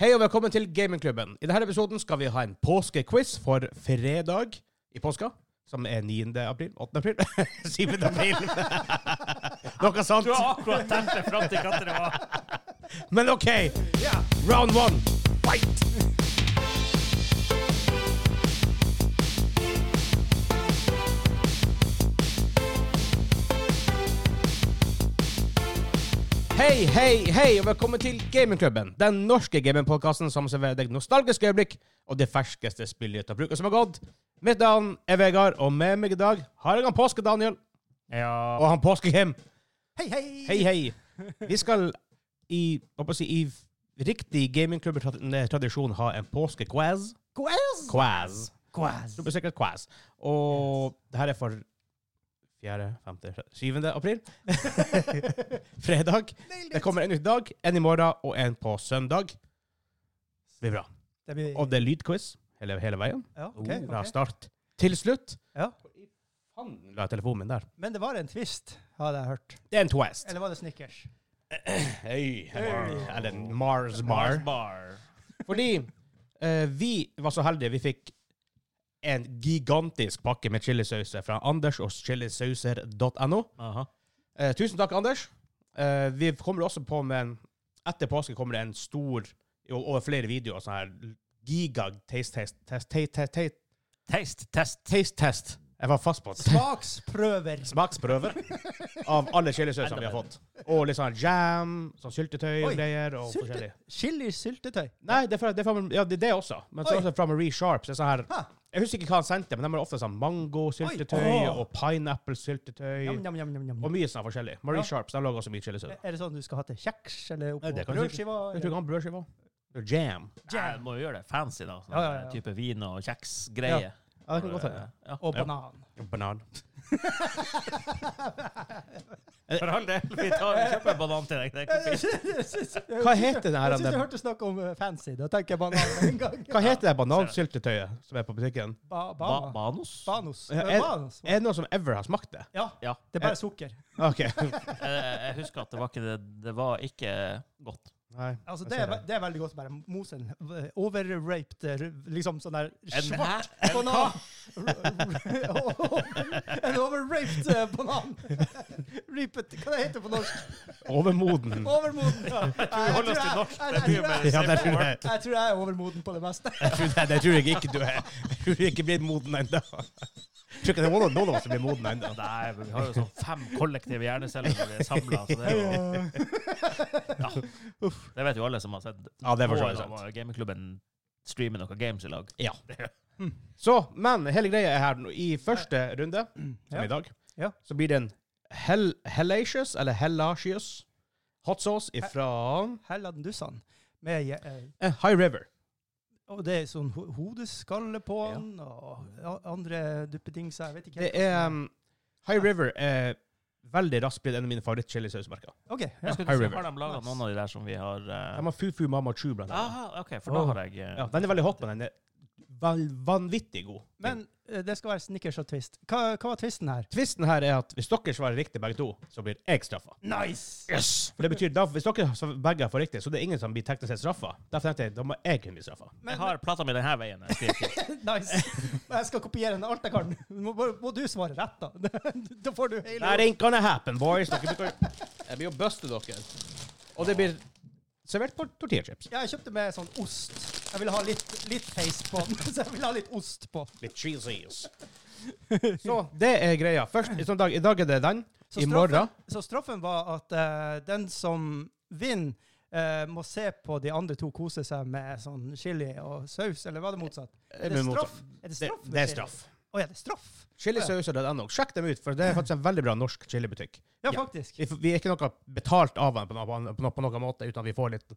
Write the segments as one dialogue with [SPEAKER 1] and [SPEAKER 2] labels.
[SPEAKER 1] Hei og velkommen til Gamingklubben. I denne episoden skal vi ha en påskequiz for fredag i påska. Som er 9. april? 8. april? 7. april? Noe sånt.
[SPEAKER 2] Du har akkurat telt det fram til hva det var.
[SPEAKER 1] Men OK. Round one. Fight! Hei, hei, hei, og velkommen til Gamingklubben. Den norske gamingpodkasten som serverer deg nostalgiske øyeblikk og det ferskeste spillet ut av bruken som har gått. Mitt navn er Vegard, og med meg i dag har jeg han Påske-Daniel
[SPEAKER 2] Ja.
[SPEAKER 1] og han Påske-Kim.
[SPEAKER 3] Hei, hei!
[SPEAKER 1] Hei, hei. Vi skal i, hva skal jeg si, i riktig gamingklubber-tradisjon ha en påske-quaz.
[SPEAKER 3] Quiz!
[SPEAKER 1] Quaz.
[SPEAKER 3] Quiz.
[SPEAKER 1] Du blir sikkert quaz. Og det her er for 4., 5., 7. april. Fredag. Det kommer en ut i dag, en i morgen og en på søndag. Det blir bra.
[SPEAKER 3] Det blir...
[SPEAKER 1] Og det Oh, er lydquiz hele, hele veien.
[SPEAKER 3] ja, ok,
[SPEAKER 1] Fra
[SPEAKER 3] ok.
[SPEAKER 1] start til slutt.
[SPEAKER 3] Ja.
[SPEAKER 1] Faen, la jeg telefonen min der.
[SPEAKER 3] Men det var en twist, hadde jeg hørt.
[SPEAKER 1] Det er en twist.
[SPEAKER 3] Eller var det Snickers?
[SPEAKER 1] Hei,
[SPEAKER 3] Hey.
[SPEAKER 1] Eller en Mars Bar.
[SPEAKER 2] Bar.
[SPEAKER 1] Fordi eh, vi var så heldige. Vi fikk en gigantisk pakke med chilisauser fra Anders og chilisauser.no.
[SPEAKER 2] Aha.
[SPEAKER 1] Eh, tusen takk, Anders. Eh, vi kommer også på med en Etter påske kommer det en stor o- over flere videoer sånn her giga taste test test taste test taste,
[SPEAKER 2] Taste test.
[SPEAKER 1] taste test. Jeg var fast på det.
[SPEAKER 3] Smaksprøver.
[SPEAKER 1] Smaksprøver av alle chilisausene vi har fått. Og litt sånn jam, sånn syltetøy og
[SPEAKER 3] Oi,
[SPEAKER 1] greier. Og
[SPEAKER 3] Sylte-
[SPEAKER 1] forskjellig.
[SPEAKER 3] Chili syltetøy.
[SPEAKER 1] Nei, det er fra, det er fra Ja, det er det også. Men så er
[SPEAKER 3] Oi.
[SPEAKER 1] det også fra Marie Sharp. Så er det sånn her
[SPEAKER 3] Ha.
[SPEAKER 1] Jeg husker ikke hva han sendte, men de har ofte sånn mango-syltetøy
[SPEAKER 3] Oi. Åh.
[SPEAKER 1] og pineapple-syltetøy.
[SPEAKER 3] Jam, jam, jam, jam, jam.
[SPEAKER 1] Og mye sånn forskjellig. Marie
[SPEAKER 3] Ja.
[SPEAKER 1] Sharps de lager også mye chilisaus.
[SPEAKER 3] Er det sånn du skal ha til kjeks, eller
[SPEAKER 1] Nei,
[SPEAKER 3] oppå
[SPEAKER 1] det kan du
[SPEAKER 3] brødskiva?
[SPEAKER 1] Jeg tror ikke han brødskive òg. Jam.
[SPEAKER 2] Ja, må jo gjøre det fancy, da. Sånn
[SPEAKER 3] Ja, ja, ja.
[SPEAKER 2] type vin og kjeksgreier.
[SPEAKER 3] Ja, det kan godt hende.
[SPEAKER 2] Ja.
[SPEAKER 3] Og banan.
[SPEAKER 1] Banan.
[SPEAKER 2] For all del, vi tar vi kjøper en banan til deg. Det er ikke fint.
[SPEAKER 1] Hva heter det her?
[SPEAKER 3] Jeg syns jeg
[SPEAKER 1] den-
[SPEAKER 3] hørte snakk om eh, fancy. Da tenker jeg banan med en gang.
[SPEAKER 1] Hva heter det banansyltetøyet som er på butikken?
[SPEAKER 3] Ba
[SPEAKER 2] Ba
[SPEAKER 3] bana.
[SPEAKER 2] banos?
[SPEAKER 3] Banos.
[SPEAKER 1] Ja,
[SPEAKER 3] Eh,
[SPEAKER 1] er-
[SPEAKER 3] Banos.
[SPEAKER 1] Er det noen som ever har smakt det?
[SPEAKER 3] Ja,
[SPEAKER 2] Ja.
[SPEAKER 3] det er bare sukker.
[SPEAKER 1] OK.
[SPEAKER 2] Jeg, Eh, jeg husker at det var ikke det. Det var ikke godt.
[SPEAKER 1] Nei.
[SPEAKER 3] Altså,
[SPEAKER 1] jeg
[SPEAKER 3] det,
[SPEAKER 1] ser
[SPEAKER 3] er, ve- det er veldig godt. Bare mos en v- overraped eh, ru- Liksom sånn der svart
[SPEAKER 2] En
[SPEAKER 3] banan. en overraped eh, banan. Reapet Hva det heter det på norsk?
[SPEAKER 1] Overmoden.
[SPEAKER 3] Overmoden. Ja. Jeg,
[SPEAKER 2] Vi holder
[SPEAKER 3] tror
[SPEAKER 2] oss til
[SPEAKER 3] jeg-
[SPEAKER 2] norsk.
[SPEAKER 3] jeg-
[SPEAKER 2] Det er
[SPEAKER 3] jeg
[SPEAKER 2] mye mer
[SPEAKER 3] tror jeg-
[SPEAKER 1] Ja, det tror jeg.
[SPEAKER 3] Jeg tror jeg er overmoden på det meste.
[SPEAKER 1] Jeg tror, nei, det tror jeg ikke du er. Jeg tror du ikke blir moden ennå. Jeg tror ikke det er noen noen av oss som blir moden ennå.
[SPEAKER 2] Nei, men vi har jo sånn fem kollektive hjerneceller når vi er samla, så det er jo ja. Det vet jo alle som har sett
[SPEAKER 1] Ja, det er for så
[SPEAKER 2] Nå
[SPEAKER 1] vidt sant.
[SPEAKER 2] da Gamingklubben streamer noen games i lag.
[SPEAKER 1] Ja. Så, men hele greia er her nå. I første runde, som
[SPEAKER 3] Ja.
[SPEAKER 1] i dag,
[SPEAKER 3] Ja.
[SPEAKER 1] så blir det en hell, hellacious, eller hellacious, hot sauce ifra
[SPEAKER 3] Hella den dussan. Med, eh,
[SPEAKER 1] eh, High River.
[SPEAKER 3] og det er sånn ho hodeskalle på den, og a- andre duppedingser. Jeg vet ikke
[SPEAKER 1] Det
[SPEAKER 3] helt.
[SPEAKER 1] er um, High River er veldig raskt blitt en av mine favoritt-chilisausmerker.
[SPEAKER 3] OK. Ja.
[SPEAKER 2] Jeg skulle
[SPEAKER 1] High
[SPEAKER 2] si,
[SPEAKER 1] River.
[SPEAKER 2] Har de laga noen av de der som vi har eh,
[SPEAKER 1] De har Fufu Mama Chu, blant
[SPEAKER 3] Ah.
[SPEAKER 1] annet.
[SPEAKER 2] Aha, OK, for da
[SPEAKER 1] Oh.
[SPEAKER 2] har jeg eh,
[SPEAKER 1] Ja, den er veldig hot, men den er vel, vanvittig god.
[SPEAKER 3] Men eh, det skal være Snickers og Twist. Hva, hva var twisten her?
[SPEAKER 1] Tvisten her er at hvis dere svarer riktig begge to, så blir jeg straffa.
[SPEAKER 3] Nice!
[SPEAKER 1] Yes! For det betyr da, Hvis dere svar- begge får riktig, så det er ingen som blir teknisk sett straffa. Derfor tenkte jeg da må jeg kunne bli straffa.
[SPEAKER 3] Men,
[SPEAKER 2] Jeg har plata mi denne veien. Jeg skriver ikke.
[SPEAKER 3] nice. Men Jeg skal kopiere den alt jeg kan. Må, må, må du svare rett, da? Da får du hele
[SPEAKER 1] That ain't gonna happen, boys. Dere blir, jeg blir å buste dere. Og det blir servert på tortillachips.
[SPEAKER 3] Ja, Jeg kjøpte med sånn ost. Jeg ville ha litt, litt taste på den. Så jeg ville ha litt ost på.
[SPEAKER 1] Litt cheesies. Så det er greia. Først, i sånn dag, I dag er det den.
[SPEAKER 3] Så
[SPEAKER 1] I morgen
[SPEAKER 3] Så straffen var at eh, den som vinner, eh, må se på de andre to kose seg med sånn chili og saus, eller var det motsatt? Er det
[SPEAKER 1] Eh, Men motsatt.
[SPEAKER 3] straff? Er det
[SPEAKER 1] det,
[SPEAKER 3] straff? med
[SPEAKER 1] det er
[SPEAKER 3] chili?
[SPEAKER 1] straff.
[SPEAKER 3] Å, er det straff?
[SPEAKER 1] Chilisauser.no. Sjekk dem ut, for det er faktisk en veldig bra norsk chilibutikk.
[SPEAKER 3] Ja,
[SPEAKER 1] Ja.
[SPEAKER 3] faktisk.
[SPEAKER 1] Vi, f- vi er ikke noe betalt av dem på, noe- på, noe- på noen måte, uten at vi får litt,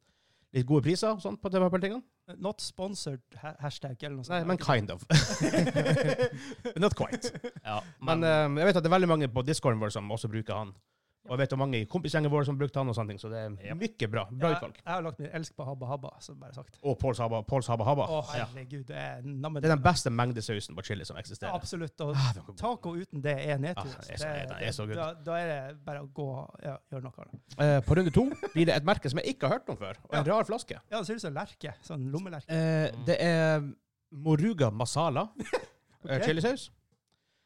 [SPEAKER 1] litt gode priser og sånt på de her tingene.
[SPEAKER 3] Not sponsored ha- hashtag, eller noe sånt.
[SPEAKER 1] Nei, men kind of. Not quite.
[SPEAKER 2] Ja,
[SPEAKER 1] Men
[SPEAKER 2] men,
[SPEAKER 1] ehm, eh, jeg vet at det er veldig mange på discorden vår som også bruker han Og jeg vet om mange i kompisgjengen vår som brukte han, og sånne ting, så det er
[SPEAKER 2] Ja.
[SPEAKER 1] mye bra. Bra
[SPEAKER 3] jeg,
[SPEAKER 1] utvalg.
[SPEAKER 3] jeg har lagt min elsk på Habba Habba, så bare sagt.
[SPEAKER 1] Og Påls Haba, Påls Haba Haba.
[SPEAKER 3] Å,
[SPEAKER 2] ja.
[SPEAKER 3] herregud, det er nammen.
[SPEAKER 1] Det er den beste mengdesausen på chili som
[SPEAKER 3] Ja,
[SPEAKER 1] eksisterer.
[SPEAKER 3] Absolutt. Og
[SPEAKER 1] Ah, den er god.
[SPEAKER 3] taco uten det er nedtur.
[SPEAKER 1] Ah, den er
[SPEAKER 3] altså.
[SPEAKER 1] så-
[SPEAKER 3] Det-
[SPEAKER 1] den er så
[SPEAKER 3] det-
[SPEAKER 1] good.
[SPEAKER 3] Da, da er det bare å gå og ja, gjøre noe. annet.
[SPEAKER 1] Eh, på runde to blir det et merke som jeg ikke har hørt om før, og en rar flaske.
[SPEAKER 3] Ja, det ser ut som en lerke. Sånn lommelerke.
[SPEAKER 1] Eh, det er Moruga masala eh,
[SPEAKER 3] Ok.
[SPEAKER 1] chilisaus.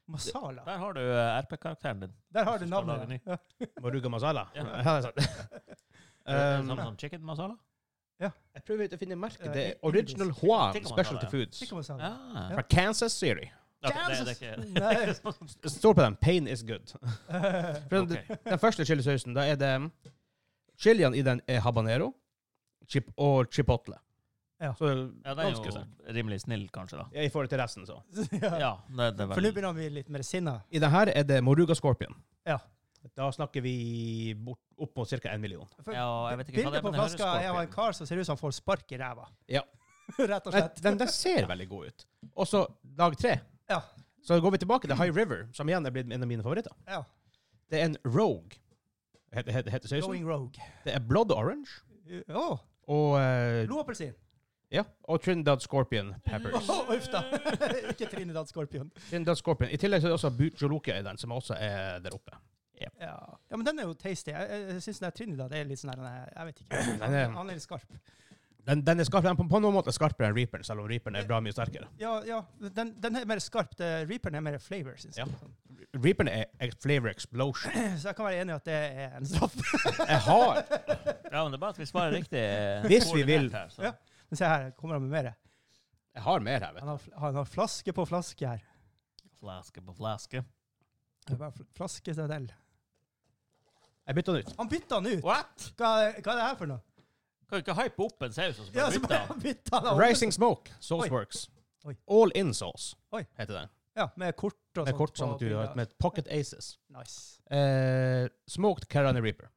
[SPEAKER 3] Masala.
[SPEAKER 2] Der har du eh, RP-karakteren din.
[SPEAKER 3] Der har du
[SPEAKER 2] Hvis du skal lage
[SPEAKER 3] navnet.
[SPEAKER 2] ny.
[SPEAKER 3] Ja.
[SPEAKER 1] Moruga masala.
[SPEAKER 2] Ja.
[SPEAKER 1] Ja. det er sant.
[SPEAKER 2] Eh, Er det den
[SPEAKER 1] Um,
[SPEAKER 2] samme som chicken masala?
[SPEAKER 1] jeg prøver ikke å finne merket.
[SPEAKER 3] Eh,
[SPEAKER 1] Det er Original Juan
[SPEAKER 2] Tikka masala,
[SPEAKER 1] Specialty
[SPEAKER 2] ja.
[SPEAKER 1] Foods
[SPEAKER 3] Tikka masala.
[SPEAKER 2] Ja.
[SPEAKER 1] fra Kansas City.
[SPEAKER 2] Ok, det, det er ikke
[SPEAKER 3] Kansas!
[SPEAKER 1] Det står på den 'Pain is good'. For den-
[SPEAKER 2] Ok.
[SPEAKER 1] Den første chilisausen, da er det Chilien i den er habanero chip og chipotle.
[SPEAKER 3] Ja.
[SPEAKER 1] Så
[SPEAKER 2] Ja, det er
[SPEAKER 1] ganske
[SPEAKER 2] jo
[SPEAKER 1] sterkt.
[SPEAKER 2] rimelig snill, kanskje, da.
[SPEAKER 1] Ja, I forhold til resten, så.
[SPEAKER 3] ja.
[SPEAKER 2] Ja, det, det er
[SPEAKER 3] For nå
[SPEAKER 2] vel...
[SPEAKER 3] begynner vi litt mer sinna.
[SPEAKER 1] I den her er det Moruga Scorpion.
[SPEAKER 3] Ja.
[SPEAKER 1] Da snakker vi bort, opp mot ca. én million.
[SPEAKER 3] For
[SPEAKER 2] Ja, jeg vet ikke hva det
[SPEAKER 3] Bildet
[SPEAKER 2] er,
[SPEAKER 3] på
[SPEAKER 2] men det høres
[SPEAKER 3] flaska er av en
[SPEAKER 2] skorpion.
[SPEAKER 3] kar som ser ut som han får spark i ræva.
[SPEAKER 1] Ja.
[SPEAKER 3] Rett og
[SPEAKER 1] Nei,
[SPEAKER 3] slett.
[SPEAKER 1] den, den ser veldig god ut. Og så dag tre.
[SPEAKER 3] Ja.
[SPEAKER 1] Så går vi tilbake til High River, som igjen er blitt en av mine favoritter.
[SPEAKER 3] Ja.
[SPEAKER 1] Det er en Rogue. Heter, heter, heter sausen.
[SPEAKER 3] Going rogue.
[SPEAKER 1] Det er Blood Orange
[SPEAKER 3] Å,
[SPEAKER 1] og, eh,
[SPEAKER 3] blodappelsin.
[SPEAKER 1] ja, og Trinidad Scorpion
[SPEAKER 3] Å,
[SPEAKER 1] Peppers.
[SPEAKER 3] uff da. Ikke Trinidad Scorpion.
[SPEAKER 1] Trinidad Scorpion. I tillegg så er det også Butjolokia i den, som også er der oppe.
[SPEAKER 3] Ja. ja, men den er jo tasty. Jeg, jeg, jeg syns Trinidad er litt sånn her den er- Jeg vet ikke.
[SPEAKER 1] Den er-
[SPEAKER 3] Han er litt skarp.
[SPEAKER 1] Den, den er skarpere, den på, på noen måte skarpere enn Reaperen, selv om Reaperen er bra mye sterkere.
[SPEAKER 3] Ja, ja. Den, den er mer skarp. Det- Reaperen er mer flavor, syns jeg.
[SPEAKER 1] Reaperen er ex- flavor explosion.
[SPEAKER 3] Så jeg kan være enig i at det er en straff.
[SPEAKER 1] Jeg har
[SPEAKER 2] Ja, men det er bare at vi svarer riktig. eh,
[SPEAKER 1] Hvis vi vil.
[SPEAKER 2] koordinert Her, så.
[SPEAKER 3] Ja. Men se her, kommer han med mer.
[SPEAKER 1] Jeg har mer her, vet
[SPEAKER 3] Han har, fl- han har flaske på flaske her.
[SPEAKER 2] Flaske på flaske.
[SPEAKER 3] Det er bare fl- Flaske til del.
[SPEAKER 1] du. Jeg bytter den ut.
[SPEAKER 3] Han bytta den ut!
[SPEAKER 2] What?
[SPEAKER 3] Hva, hva er det her for noe?
[SPEAKER 2] Kan du ikke hype opp en saus og så
[SPEAKER 3] Ja,
[SPEAKER 2] bare
[SPEAKER 3] så
[SPEAKER 2] bytte
[SPEAKER 3] bare
[SPEAKER 2] den?
[SPEAKER 3] han bytta den.
[SPEAKER 1] Rising Smoke,
[SPEAKER 3] Oi.
[SPEAKER 1] Sauceworks.
[SPEAKER 3] Oi.
[SPEAKER 1] All in sauce
[SPEAKER 3] Oi.
[SPEAKER 1] heter den.
[SPEAKER 3] Ja, med kort og
[SPEAKER 1] Med
[SPEAKER 3] sånt.
[SPEAKER 1] kort
[SPEAKER 3] på
[SPEAKER 1] som at du har
[SPEAKER 3] bildet.
[SPEAKER 1] med Pocket Aces.
[SPEAKER 3] Nice.
[SPEAKER 1] Eh, smoked Carolina Reaper.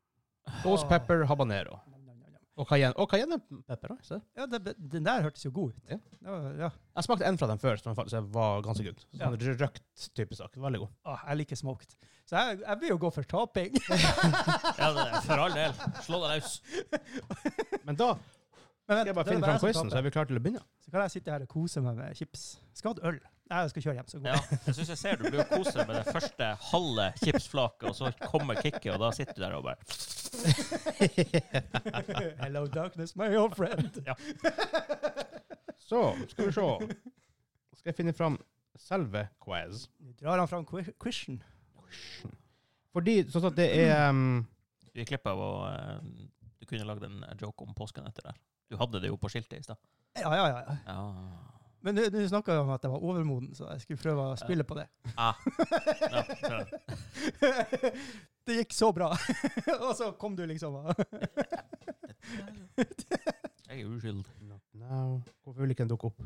[SPEAKER 1] Ghost
[SPEAKER 3] Åh.
[SPEAKER 1] pepper habanero.
[SPEAKER 3] Nam, nam, nam, nam.
[SPEAKER 1] Og cayenne, og cayenne pepper. også, se.
[SPEAKER 3] Ja, det, den der hørtes jo god ut.
[SPEAKER 1] Ja.
[SPEAKER 3] Det var- ja.
[SPEAKER 1] Jeg smakte en fra den før, som faktisk var ganske good.
[SPEAKER 3] Ja.
[SPEAKER 1] Sånn Røkt type sak. Veldig god.
[SPEAKER 3] Åh, jeg liker smoked. Så jeg, jeg vil jo gå for taping.
[SPEAKER 2] Ja, det er, for all del. Slå deg løs.
[SPEAKER 1] Men da
[SPEAKER 3] Men
[SPEAKER 1] skal jeg bare finne fram quizen, så er vi klare til å begynne.
[SPEAKER 3] Så kan jeg sitte her og kose meg med chips. Skal du øl? Nei, jeg skal kjøre hjem, så går
[SPEAKER 2] Ja,
[SPEAKER 3] jeg.
[SPEAKER 2] jeg syns jeg ser du blir å kose deg med det første halve chipsflaket, og så kommer kicket, og da sitter du der og bare
[SPEAKER 3] Hello darkness, my old friend.
[SPEAKER 1] Så skal vi se. Skal jeg finne fram selve quiz.
[SPEAKER 3] Nå drar han fram que- quizen.
[SPEAKER 1] Fordi sånn at det er um,
[SPEAKER 2] Du gikk glipp av å eh, Du kunne lagd en eh, joke om påsken etter der. Du hadde det jo på skiltet i stad.
[SPEAKER 3] Ja, ja, ja.
[SPEAKER 2] Ja.
[SPEAKER 3] Men du, du snakka jo om at jeg var overmoden, så jeg skulle prøve å spille på det.
[SPEAKER 2] Ah. Ja, så-
[SPEAKER 3] det gikk så bra. og så kom du liksom og
[SPEAKER 2] Jeg er uskyld.
[SPEAKER 1] no. Hvorfor vil ikke den dukke opp?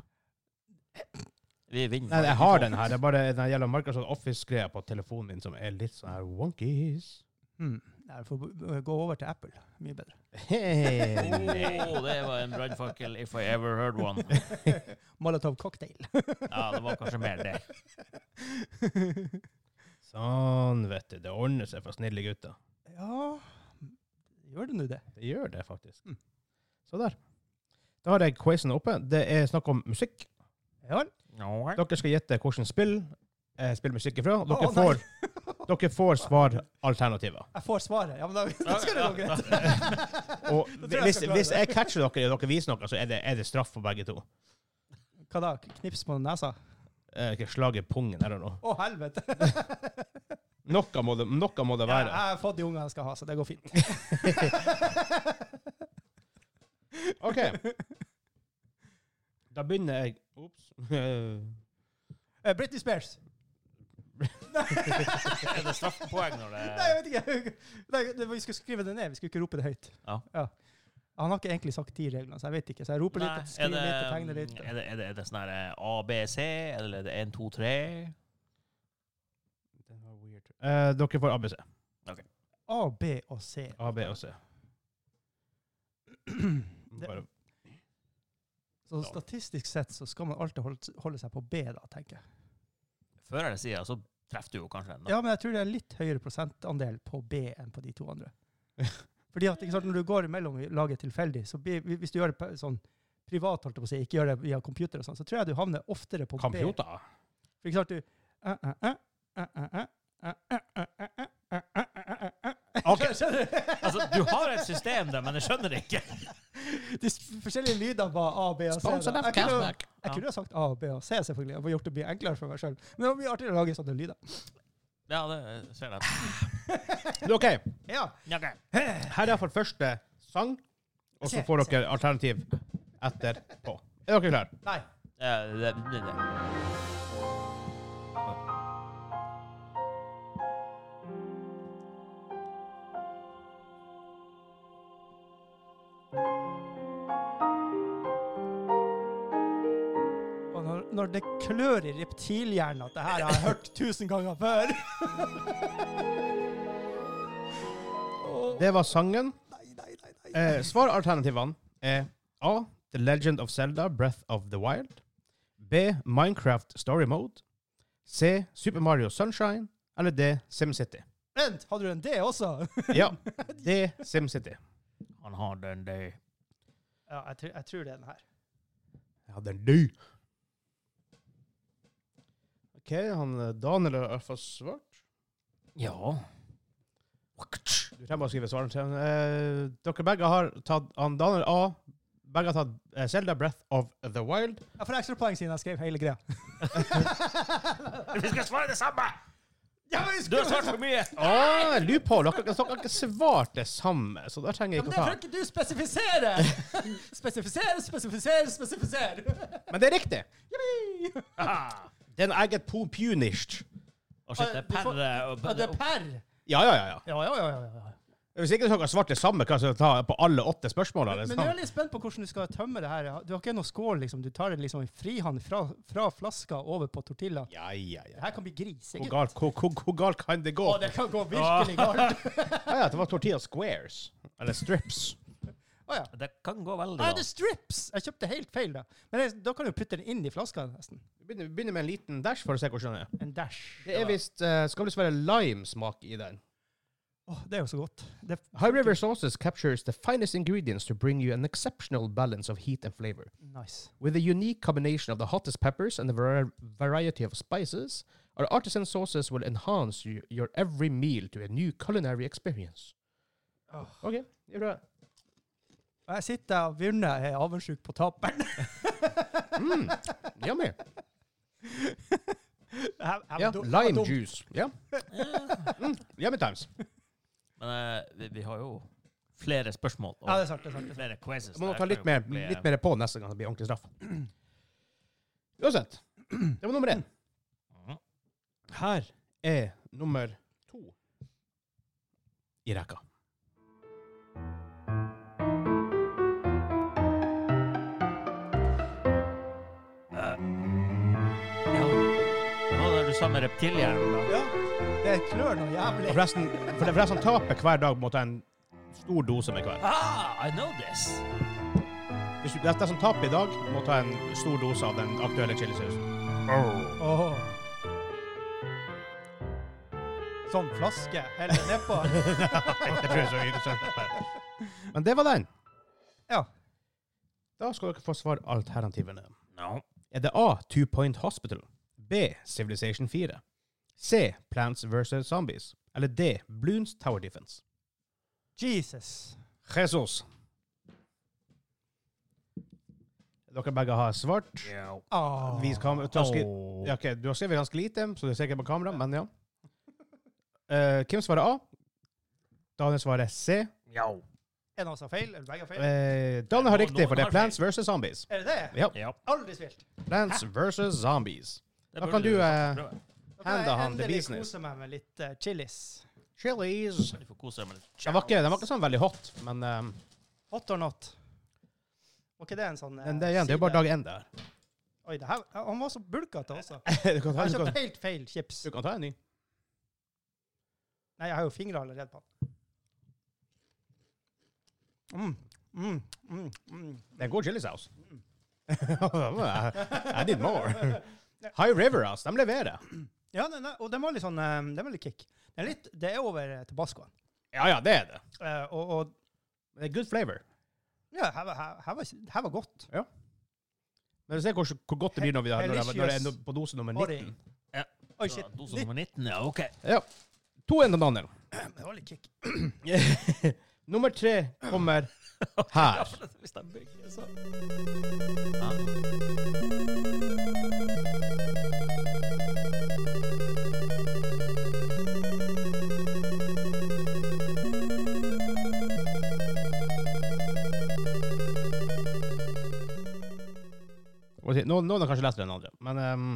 [SPEAKER 2] Vi vinner.
[SPEAKER 1] Nei, jeg har den her. Det er bare den gjelder Microsoft Office-greia på telefonen min som er litt sånn her wonkies.
[SPEAKER 3] hmm. Nei, jeg får b- gå over til Apple. Mye bedre.
[SPEAKER 1] Hey.
[SPEAKER 2] Åh, Oh, det var en brannfakkel if I ever heard one.
[SPEAKER 3] Molotov cocktail.
[SPEAKER 2] Ja, det var kanskje mer det.
[SPEAKER 1] Sånn, vet du. Det ordner seg for snille gutter.
[SPEAKER 3] Ja Gjør det nå det?
[SPEAKER 1] Det gjør det faktisk.
[SPEAKER 3] Mm.
[SPEAKER 1] Så der. Da har jeg quizen oppe. Det er snakk om musikk.
[SPEAKER 3] Ja vel?
[SPEAKER 2] Ok.
[SPEAKER 1] Dere skal gjette hvilket spill eh, spiller musikk ifra. og Dere,
[SPEAKER 3] Å, nei.
[SPEAKER 1] får, dere får svaralternativer.
[SPEAKER 3] Jeg får svaret. Ja, men da, da skal det gå greit.
[SPEAKER 1] Og
[SPEAKER 3] Da tror jeg
[SPEAKER 1] hvis,
[SPEAKER 3] skal klare
[SPEAKER 1] hvis
[SPEAKER 3] det.
[SPEAKER 1] jeg catcher dere og dere viser noe, så er det, er det straff for begge to.
[SPEAKER 3] Hva da? Knips på nesa?
[SPEAKER 1] Eh, ikke slag i pungen eller noe.
[SPEAKER 3] Å, helvete!
[SPEAKER 1] Noe må det, noe må det
[SPEAKER 3] Jeg,
[SPEAKER 1] være.
[SPEAKER 3] jeg har fått de ungene jeg skal ha, så det går fint.
[SPEAKER 1] OK. Da begynner jeg Ops. Eh,
[SPEAKER 3] Eh, Britney Spears.
[SPEAKER 2] Er det straffepoeng når
[SPEAKER 3] Nei,
[SPEAKER 2] det
[SPEAKER 3] jeg vet ikke. Nei, det- vi skulle skrive det ned, vi skulle ikke rope det høyt.
[SPEAKER 2] Ja.
[SPEAKER 3] Han har ikke egentlig sagt de reglene, så jeg vet ikke. Så jeg roper
[SPEAKER 2] Nei,
[SPEAKER 3] litt, skriver litt,
[SPEAKER 2] er
[SPEAKER 3] tegner
[SPEAKER 2] det,
[SPEAKER 3] litt.
[SPEAKER 2] er det, er det, er det sånn her eh, A, B, C, eller er det 1, 2, 3?
[SPEAKER 1] den var weird. Eh, dere får ABC.
[SPEAKER 3] A, B og C.
[SPEAKER 1] A, B og C.
[SPEAKER 3] Det-
[SPEAKER 1] Bare,
[SPEAKER 3] Så statistisk sett så skal man alltid holde, holde seg på B, da, tenker jeg.
[SPEAKER 2] Før eller siden så treffer du jo kanskje den. da.
[SPEAKER 3] Ja, men jeg tror det er en litt høyere prosentandel på B enn på de to andre. Fordi at ikke sant, når du går mellom laget tilfeldig, så blir, hvis du gjør det på, sånn privat, holdt jeg på å si, ikke gjør det via computer og sånn, så tror jeg du havner oftere på B.
[SPEAKER 1] Computer.
[SPEAKER 3] For ikke sant, du eh, eh, eh, eh, eh, eh, eh, eh, eh, eh, eh, eh, eh, eh, eh.
[SPEAKER 2] Ok.
[SPEAKER 3] Skjønner du?
[SPEAKER 2] Altså, du har et system der, men jeg skjønner det ikke.
[SPEAKER 3] De s- forskjellige lydene var A, B og C. da. Jeg kunne, jo- jeg kunne jo sagt A, B og C, selvfølgelig. Jeg har gjort det mye enklere for meg sjøl. Men det var mye artigere å lage sånne lyder.
[SPEAKER 2] Ja, det ser jeg.
[SPEAKER 1] OK,
[SPEAKER 3] Ja.
[SPEAKER 2] Ja, ok.
[SPEAKER 1] her er iallfall første sang, og så får dere alternativ etterpå. Er dere klare?
[SPEAKER 3] Nei.
[SPEAKER 2] Eh, det- det- det.
[SPEAKER 3] Og når, når det klør i reptilhjernen at det her har jeg hørt tusen ganger før. Åh,
[SPEAKER 1] Det var sangen.
[SPEAKER 3] nei, nei, nei, nei.
[SPEAKER 1] Eh, Svaralternativene er A. The Legend of Zelda Breath of the Wild. B. Minecraft Story Mode. C. Super Mario Sunshine. Eller D. SimCity.
[SPEAKER 3] Vent, hadde du en D også?
[SPEAKER 1] Ja, D. SimCity.
[SPEAKER 2] Han har den day.
[SPEAKER 3] Ja, jeg, tror- jeg tror det er den her.
[SPEAKER 1] Ja, den du. OK, han eh, Daniel har iallfall svart.
[SPEAKER 2] Ja.
[SPEAKER 1] Du trenger bare å skrive svarene til han. Eh, dere begge har tatt han Daniel A. Begge har tatt eh, Zelda Breath of the Wild.
[SPEAKER 3] Jeg får ekstrapoeng siden jeg skrev hele greia.
[SPEAKER 2] Vi skal svare det samme!
[SPEAKER 3] Ja, men jeg
[SPEAKER 2] Du har
[SPEAKER 3] skulle-
[SPEAKER 2] svart for mye!
[SPEAKER 1] Ah, loophole. Dere, dere har ikke svart det samme, så da trenger
[SPEAKER 3] Ja,
[SPEAKER 1] jeg
[SPEAKER 3] men
[SPEAKER 1] ikke å
[SPEAKER 3] det tror
[SPEAKER 1] ta.
[SPEAKER 3] jeg ikke du spesifiserer! Spesifiser, spesifiser, spesifiser!
[SPEAKER 1] Men det er riktig.
[SPEAKER 3] Yippee!
[SPEAKER 2] Ah.
[SPEAKER 1] Den er eget po punished.
[SPEAKER 2] Og shit, det er
[SPEAKER 3] Du får-
[SPEAKER 2] perre og
[SPEAKER 3] Ja, det er per.
[SPEAKER 1] Ja, ja, ja. ja.
[SPEAKER 3] Ja, ja, ja. ja, ja.
[SPEAKER 1] Hvis ikke dere har svart det samme, kan jeg ta på alle åtte spørsmålene.
[SPEAKER 3] Men jeg er litt spent på hvordan du skal tømme det her. Du har ikke noe skål, liksom. Du tar det liksom i frihånd fra, fra flaska over på tortilla.
[SPEAKER 1] Ja, ja,
[SPEAKER 3] Det
[SPEAKER 1] ja.
[SPEAKER 3] her kan bli gris,
[SPEAKER 1] Hvor
[SPEAKER 3] ikke?
[SPEAKER 1] galt, hvor, hvor, hvor galt kan det gå?
[SPEAKER 3] Å, det kan gå virkelig galt.
[SPEAKER 1] Ja, ja, det var tortilla squares. Eller strips.
[SPEAKER 3] Å ja.
[SPEAKER 2] Det kan gå veldig
[SPEAKER 3] Nei,
[SPEAKER 2] bra.
[SPEAKER 3] det er strips! Jeg kjøpte helt feil, da. Men det, da kan du putte den inn i flaska, nesten.
[SPEAKER 1] Vi begynner, vi begynner med en liten dash for å se hvordan det er.
[SPEAKER 3] En dash.
[SPEAKER 1] Det er visst eh, Skal visst være limesmak i den.
[SPEAKER 3] Åh, det er jo så godt. Det,
[SPEAKER 1] High River Sauces captures the finest ingredients to bring you an exceptional balance of heat and flavor.
[SPEAKER 3] nice.
[SPEAKER 1] With a unique combination of the hottest peppers and a var- variety of spices, our artisan sauces will enhance you, your every meal to a new culinary experience.
[SPEAKER 3] Åh.
[SPEAKER 1] OK, det er bra.
[SPEAKER 3] Og Jeg sitter og vurner, jeg er avundsjuk på taperen.
[SPEAKER 1] Mm, yummy.
[SPEAKER 3] Jeg- jeg-
[SPEAKER 1] Ja,
[SPEAKER 3] dum- jeg
[SPEAKER 1] lime
[SPEAKER 3] dum.
[SPEAKER 1] juice. Ja. Mm, yummy times.
[SPEAKER 2] Men eh, vi, vi har jo flere spørsmål. Og
[SPEAKER 3] Ja, det er sant. det er sant. det er sant.
[SPEAKER 2] flere quizzes.
[SPEAKER 1] Så må
[SPEAKER 2] der
[SPEAKER 1] man ta
[SPEAKER 2] kan
[SPEAKER 1] litt
[SPEAKER 2] jo
[SPEAKER 1] mer,
[SPEAKER 2] fort bli, eh,
[SPEAKER 1] litt mer på neste gang det blir ordentlig straff. Uansett, det var nummer én.
[SPEAKER 2] mhm.
[SPEAKER 1] Her er nummer to i rekka.
[SPEAKER 2] Ja. Nå er du sammen med reptilhjernen.
[SPEAKER 3] Ja, det klør noe
[SPEAKER 1] Og
[SPEAKER 3] jævlig.
[SPEAKER 1] forresten, for det forresten taper hver dag mot en stor dose med hver.
[SPEAKER 2] Ah, I know this!
[SPEAKER 1] Hvis du, dette som taper i dag, må ta en stor dose av den aktuelle chilisausen.
[SPEAKER 3] Åh. Sånn flaske heller nedpå.
[SPEAKER 1] Det tror jeg så mye søren. Men det var den.
[SPEAKER 3] Ja.
[SPEAKER 1] Da skal dere få svar alternativene.
[SPEAKER 2] No.
[SPEAKER 1] Er det A. Two Point Hospital? B. Civilization 4? C. Plants vs. Zombies? Eller D. Bloons Tower Defense?
[SPEAKER 3] Jesus.
[SPEAKER 1] Jesus. Dere begge har svart.
[SPEAKER 2] Yeah.
[SPEAKER 3] Åh.
[SPEAKER 1] Vi skal, du, har skri, ja, ok, du har skrevet ganske lite, så det ser ikke på kamera, men ja. Eh, Kim svarer A. Daniel svarer C.
[SPEAKER 2] Yo.
[SPEAKER 3] En av oss har feil, eller begge har feil.
[SPEAKER 1] Eh, Daniel har riktig, for det er Plants vs. Zombies.
[SPEAKER 3] Er det det?
[SPEAKER 1] Ja.
[SPEAKER 2] Ja.
[SPEAKER 3] Aldri spilt.
[SPEAKER 1] Plants vs. Zombies.
[SPEAKER 2] Det
[SPEAKER 1] Da
[SPEAKER 2] burde
[SPEAKER 1] kan du eh,
[SPEAKER 2] faktisk prøve.
[SPEAKER 3] Da kan
[SPEAKER 1] Handa
[SPEAKER 3] jeg
[SPEAKER 1] han the
[SPEAKER 3] endelig
[SPEAKER 1] business.
[SPEAKER 3] kose meg med litt eh, chilis.
[SPEAKER 1] Chilies.
[SPEAKER 2] Du får kose deg med litt
[SPEAKER 1] Den var, ikke, den var ikke sånn veldig hot, men eh,
[SPEAKER 3] Hot or not? Var ikke det en sånn eh,
[SPEAKER 1] den, det, igjen, det er jo bare
[SPEAKER 3] side?
[SPEAKER 1] dag én der.
[SPEAKER 3] Oi, det her, han var så bulkete også.
[SPEAKER 1] du, kan
[SPEAKER 3] Jeg
[SPEAKER 1] ta,
[SPEAKER 3] har
[SPEAKER 1] du,
[SPEAKER 3] kjøpt
[SPEAKER 1] kan,
[SPEAKER 3] helt feil chips.
[SPEAKER 1] du kan ta en ny.
[SPEAKER 3] Nei, jeg har jo fingre allerede på den. Mm, mm, mm, mm.
[SPEAKER 1] Det er en god chilisaus. I did more. High River, ass. De leverer.
[SPEAKER 3] Ja, nei, nei, og den var litt sånn eh, Den var litt kick. Den er litt, det er over eh, tabascoen.
[SPEAKER 1] Ja ja, det er det.
[SPEAKER 3] Eh, og, og
[SPEAKER 1] Det er good flavor.
[SPEAKER 3] ja, her, var- her, her, var, her var godt.
[SPEAKER 1] Men du ser hvor, hvor godt det blir når vi har når det- når det er
[SPEAKER 3] Delicious.
[SPEAKER 1] no- på dose nummer
[SPEAKER 3] Var det-
[SPEAKER 1] 19.
[SPEAKER 3] Oi, shit.
[SPEAKER 2] Dose altså, nummer 19, ja, OK.
[SPEAKER 1] To ender, Daniel.
[SPEAKER 3] Litt- Det var litt kick.
[SPEAKER 1] nummer tre kommer her.
[SPEAKER 2] Hvis de bygger,
[SPEAKER 3] altså.
[SPEAKER 2] så
[SPEAKER 1] Hva sier- Noen, noen har kanskje lest den andre. Men ehm,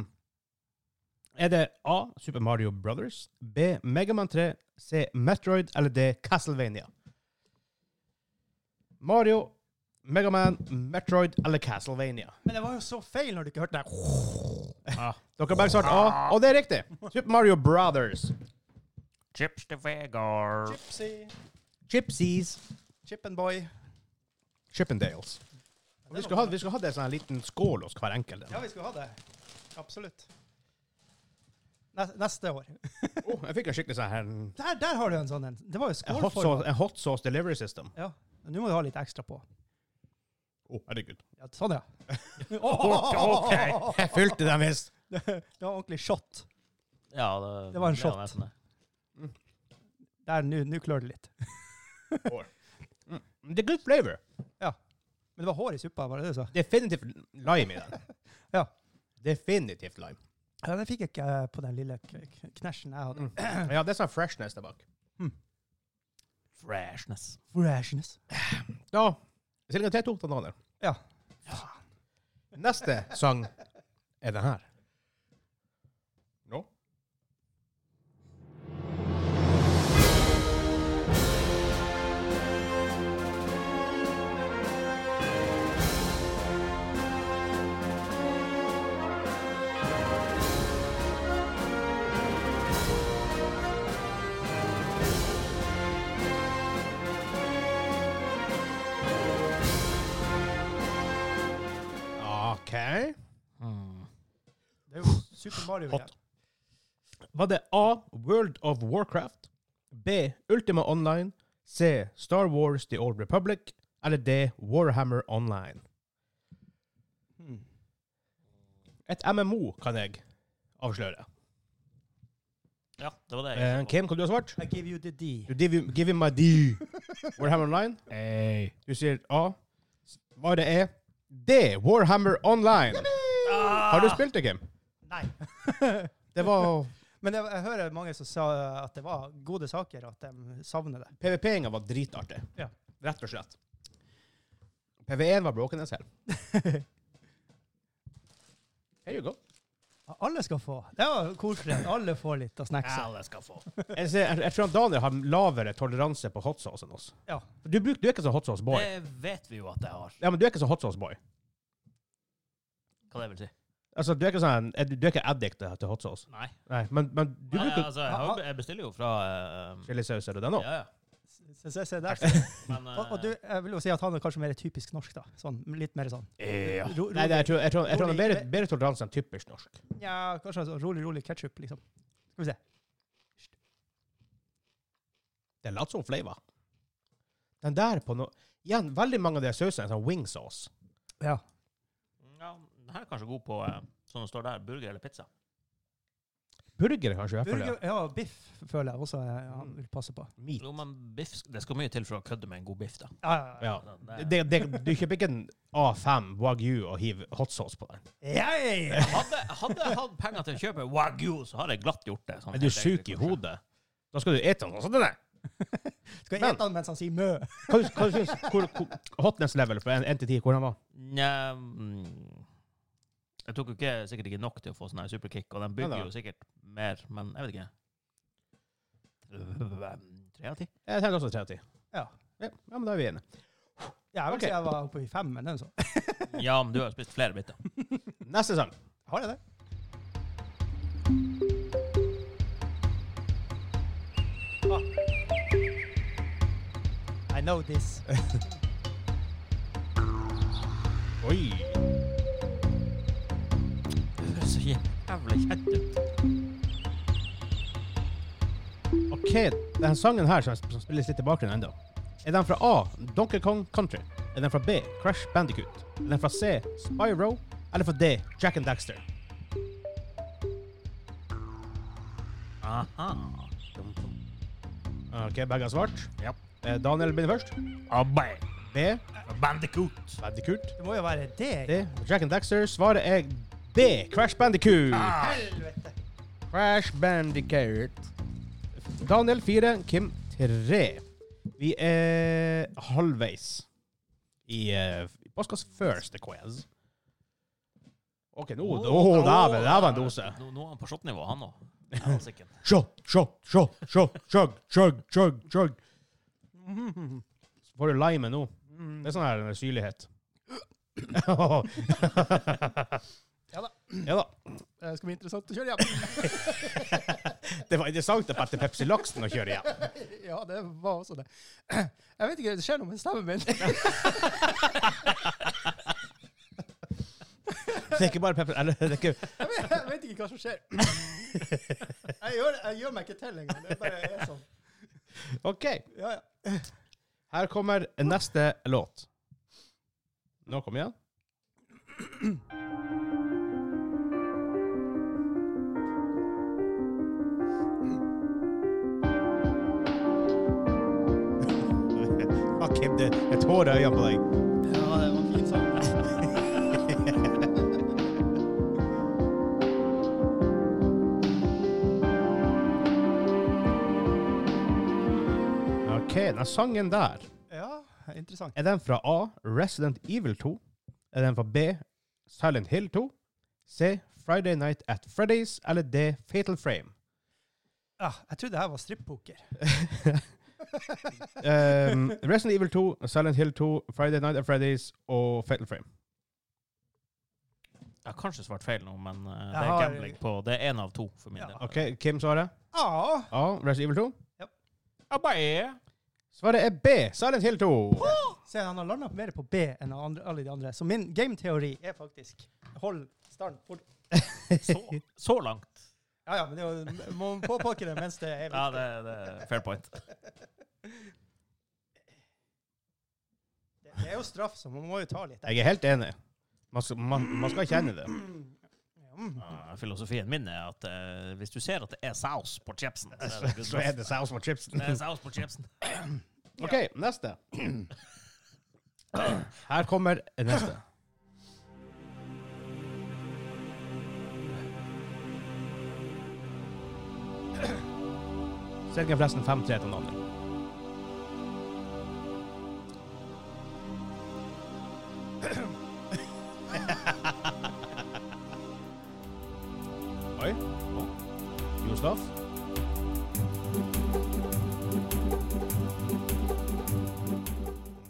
[SPEAKER 1] er det A. Super Mario Brothers, B. Megaman 3, C. Metroid eller D. Castlevania? Mario, Megaman, Metroid eller Castlevania?
[SPEAKER 3] Men det var jo så feil når du ikke hørte det.
[SPEAKER 1] Dere har begge svart A, og det er riktig! Super Mario Brothers.
[SPEAKER 2] Chips to Vegar.
[SPEAKER 3] Gypsy,
[SPEAKER 1] Gypsies.
[SPEAKER 3] Chip and Boy.
[SPEAKER 1] Chippendales. Vi skal ha, vi skal ha det sånn en liten skål hos hver enkelt.
[SPEAKER 3] Ja, vi skulle ha det. Absolutt. Nes- Neste år.
[SPEAKER 1] Oh, jeg fikk en skikkelig sånn her en
[SPEAKER 3] Der, der har du en sånn en. Det var jo
[SPEAKER 1] en hot,
[SPEAKER 3] skålform.
[SPEAKER 1] sauce, en hot sauce delivery system.
[SPEAKER 3] Ja. Nå må du ha litt ekstra på.
[SPEAKER 1] Oh, herregud.
[SPEAKER 3] Ja, sånn, ja.
[SPEAKER 2] Ok.
[SPEAKER 1] Jeg fylte den visst.
[SPEAKER 3] Det det var ordentlig shot.
[SPEAKER 2] Ja,
[SPEAKER 3] Det var en shot.
[SPEAKER 2] nesten det. sånn
[SPEAKER 3] Der, nå nå klør det litt.
[SPEAKER 1] Mm. Det er good flavor.
[SPEAKER 3] Men det var hår i suppa, var det det du sa?
[SPEAKER 1] Definitivt lime i den.
[SPEAKER 3] Ja.
[SPEAKER 1] Definitivt lime.
[SPEAKER 3] Ja, den fikk jeg ikke eh, på den lille k- k- knæsjen jeg hadde.
[SPEAKER 1] Mm. Ja, det er sånn freshness der bak.
[SPEAKER 2] Freshness.
[SPEAKER 3] Freshness.
[SPEAKER 1] Da Silje 3-2 til Daniel.
[SPEAKER 3] Ja.
[SPEAKER 1] Neste sang er den her. Nå? OK.
[SPEAKER 3] Det er jo Super Mario
[SPEAKER 1] Hot.
[SPEAKER 3] igjen.
[SPEAKER 1] Var det A. World of Warcraft? B. Ultima Online? C. Star Wars The Old Republic? Eller D. Warhammer Online?
[SPEAKER 3] Hmm.
[SPEAKER 1] Et MMO kan jeg avsløre.
[SPEAKER 2] Ja, det var det.
[SPEAKER 1] Eh, Kim, hva du har svart?
[SPEAKER 3] I give you the D.
[SPEAKER 1] Du give, him- give him my D. Warhammer Online? A. Du sier A. Svaret er D. Warhammer Online.
[SPEAKER 2] Ah,
[SPEAKER 1] Har du spilt det, Kim?
[SPEAKER 3] Nei.
[SPEAKER 1] Det var
[SPEAKER 3] Men jeg, jeg hører mange som sa at det var gode saker, at de savner det.
[SPEAKER 1] PVP-inga var dritartig.
[SPEAKER 3] Ja.
[SPEAKER 1] Rett og slett. PV1 var broken as hell. Here you go.
[SPEAKER 3] Alle skal få. Det var koselig. Alle får litt av snacksa.
[SPEAKER 2] Alle skal få.
[SPEAKER 1] Jeg, ser, jeg, jeg tror han Daniel har lavere toleranse på hot sauce enn oss.
[SPEAKER 3] Ja.
[SPEAKER 1] Du, bruk, du er ikke sånn hot sauce boy.
[SPEAKER 2] Det vet vi jo at jeg har.
[SPEAKER 1] Ja, men du er ikke sånn hot sauce boy.
[SPEAKER 2] Hva det vil si.
[SPEAKER 1] Altså, du er ikke sånn, du er ikke addict til hot sauce.
[SPEAKER 2] Nei.
[SPEAKER 1] Nei, men, men du
[SPEAKER 2] Nei,
[SPEAKER 1] bruker
[SPEAKER 2] altså, jeg, har, jo- jeg bestiller jo fra eh,
[SPEAKER 1] chilisaus og den òg.
[SPEAKER 2] Ja, ja.
[SPEAKER 3] Se, se, se der.
[SPEAKER 2] Men eh,
[SPEAKER 3] Og, og du, jeg vil jo si at han er kanskje mer typisk norsk, da. Sånn, litt mer sånn
[SPEAKER 2] eh,
[SPEAKER 3] ro,
[SPEAKER 1] Nei, det, jeg
[SPEAKER 3] rolig,
[SPEAKER 1] tror, jeg tror, jeg tror han har bedre,
[SPEAKER 3] Rolig.
[SPEAKER 1] bedre toleranse enn typisk norsk.
[SPEAKER 3] ja, kanskje sånn rolig, rolig ketsjup, liksom. Skal vi se.
[SPEAKER 1] Det er lots of flavor. Den der på noe Igjen, veldig mange av de sausene er sånn wing sauce.
[SPEAKER 3] Ja.
[SPEAKER 2] eh, ja, den her er kanskje god på, eh, som det står der, burger eller pizza.
[SPEAKER 1] Burger, kanskje. i hvert fall, ja.
[SPEAKER 3] Burger, ja, biff føler jeg også eh, han vil passe på.
[SPEAKER 1] Meat.
[SPEAKER 2] Jo, men biff, sk- det skal mye til for å kødde med en god biff, da.
[SPEAKER 3] Ja, ja, ja.
[SPEAKER 1] Ja.
[SPEAKER 2] Den
[SPEAKER 1] Det,
[SPEAKER 2] der-
[SPEAKER 1] det, du kjøper ikke en A5 Wagyu og hiver hot sauce på den.
[SPEAKER 3] Ja, ja, ja.
[SPEAKER 2] Hadde, hadde jeg hatt penger til å kjøpe Wagyu, så hadde jeg glatt gjort det. sånn
[SPEAKER 1] Er du
[SPEAKER 2] helt
[SPEAKER 1] syk
[SPEAKER 2] egentlig,
[SPEAKER 1] i
[SPEAKER 2] kanskje.
[SPEAKER 1] hodet? Da skal du ete den sånn. Nei.
[SPEAKER 3] Skal jeg
[SPEAKER 1] Men-
[SPEAKER 3] ete han mens han sier mø?
[SPEAKER 1] Hva, hva du syns hvor, hvor, Hotness level fra 1 til 10, hvordan var
[SPEAKER 2] Nja mm, Jeg tok jo ikke, sikkert ikke nok til å få sånn her superkick, og den
[SPEAKER 1] Nei da.
[SPEAKER 2] bygger jo sikkert mer, men jeg vet ikke. Øh, Tre av ti?
[SPEAKER 1] Jeg tenkte også 3 av 10.
[SPEAKER 3] Ja.
[SPEAKER 1] Ja, ja, men da er vi enige.
[SPEAKER 3] Ja, jeg vil
[SPEAKER 1] Ok.
[SPEAKER 3] si jeg var oppe i fem, men den så.
[SPEAKER 2] Ja, men du har jo spist flere biter.
[SPEAKER 1] Neste sang.
[SPEAKER 3] Har jeg det? Ah. I know this.
[SPEAKER 1] Oi.
[SPEAKER 2] Du høres så jævlig kjent ut.
[SPEAKER 1] OK, den sangen her som som spilles litt i bakgrunnen ennå, er den fra A. Donkey Kong Country? Er den fra B. Crash Bandicoot? Er den fra C. Spyro? Eller fra D. Jack and Daxter?
[SPEAKER 2] Aha.
[SPEAKER 1] OK, begge har svart.
[SPEAKER 2] Ja.
[SPEAKER 1] Eh, Daniel begynner først.
[SPEAKER 2] Abbe.
[SPEAKER 1] B.
[SPEAKER 2] Bandicoot.
[SPEAKER 1] Bandicoot.
[SPEAKER 3] Det må jo være det.
[SPEAKER 1] D. Jack and Daxter. Svaret er D. Crash Bandicoot.
[SPEAKER 2] Ah.
[SPEAKER 3] Helvete.
[SPEAKER 1] Crash Bandicoot. Daniel 4, Kim 3. Vi er halvveis i uh, Poskas første quiz. OK, nå Å, dæven, det var en dose.
[SPEAKER 2] Nå, nå er han på shotnivå, han òg. Helsike.
[SPEAKER 1] Shot, shot, shot, shot, chug, chug, chug, chug. Så får du lime nå. Det er sånn her syrlighet.
[SPEAKER 3] Ja da.
[SPEAKER 1] ja da.
[SPEAKER 3] Det skal bli interessant å kjøre hjem.
[SPEAKER 1] Det var interessant at etter Pepsi Laksen å kjøre hjem.
[SPEAKER 3] Ja, det var også det. Jeg vet ikke, det skjer noe med stemmen min.
[SPEAKER 1] Det er ikke bare Pepsi Eller det er ikke
[SPEAKER 3] Jeg vet, jeg vet ikke hva som skjer. Jeg gjør, jeg gjør meg ikke til engang. Det bare er sånn.
[SPEAKER 1] OK.
[SPEAKER 3] Ja, ja.
[SPEAKER 1] Her kommer neste låt. Nå kom igjen. Ah, Kim, det er tårer i øynene på deg.
[SPEAKER 3] Ja, det var fint sagt.
[SPEAKER 1] OK, den sangen der.
[SPEAKER 3] Ja, interessant.
[SPEAKER 1] Er den fra A. Resident Evil 2? Er den fra B. Silent Hill 2? C. Friday Night at Freddy's? Eller D. Fatal Frame?
[SPEAKER 3] Ja, jeg trodde det her var strippoker.
[SPEAKER 1] Um, Resident Evil 2, Silent Hill 2, Friday Night at Freddy's og Fatal Frame.
[SPEAKER 2] Jeg har kanskje svart feil nå, men eh, det
[SPEAKER 3] Jeg
[SPEAKER 2] er
[SPEAKER 3] har-
[SPEAKER 2] gambling på Det er én av to for min
[SPEAKER 3] Ja.
[SPEAKER 2] del.
[SPEAKER 1] OK, Kim svarer
[SPEAKER 3] Ah,
[SPEAKER 1] A. Resident Evil 2.
[SPEAKER 2] Abbe.
[SPEAKER 1] Svaret er B. Silent Hill 2.
[SPEAKER 3] Se, han har landet mer på B enn han andre, alle de andre. Så min gameteori er faktisk Hold stand fort.
[SPEAKER 2] Så, så langt.
[SPEAKER 3] Ja, ja, men det er jo, må påpakke det mens det er
[SPEAKER 2] Ja, det, det er fair point.
[SPEAKER 3] Det er jo straff, så man må jo ta litt.
[SPEAKER 1] Jeg er helt enig. Man skal, man, man skal kjenne det.
[SPEAKER 3] Mm.
[SPEAKER 2] Ja, Filosofien min er at eh, hvis du ser at det er saus på chipsen så er det good
[SPEAKER 1] Så er
[SPEAKER 2] enough.
[SPEAKER 1] det saus på chipsen.
[SPEAKER 2] Det er saus på chipsen.
[SPEAKER 1] OK, neste. Her kommer neste. Sergen forresten 5-3 til Daniel. Oi. Gustav.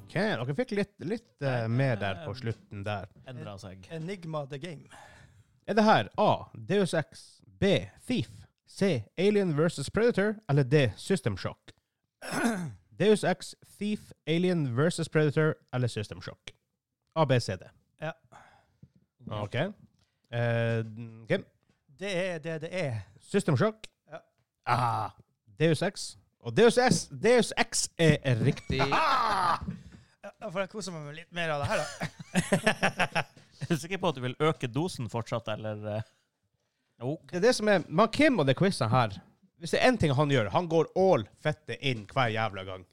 [SPEAKER 1] Ok, dere fikk litt, litt eh, med der på slutten der.
[SPEAKER 2] Endra seg.
[SPEAKER 3] Enigma the game.
[SPEAKER 1] Er det her A. Deus Ex, B. Thief, C. Alien vs. Predator eller D. System Shock? Deus Ex, Thief, Alien vs. Predator eller System Shock? A, B, C, D.
[SPEAKER 3] Ja.
[SPEAKER 1] OK. Eh, Kim?
[SPEAKER 3] Det er det det er.
[SPEAKER 1] System Shock.
[SPEAKER 3] Ja.
[SPEAKER 1] Ah, Deus Ex. Og Deus Ex, Deus Ex er riktig.
[SPEAKER 3] Ja, Da får jeg kose meg med litt mer av det her, da.
[SPEAKER 2] Er du sikker på at du vil øke dosen fortsatt, eller eh? OK.
[SPEAKER 1] Det er det som er man Kim og det quizet her Hvis det er én ting han gjør, han går all fette inn hver jævla gang.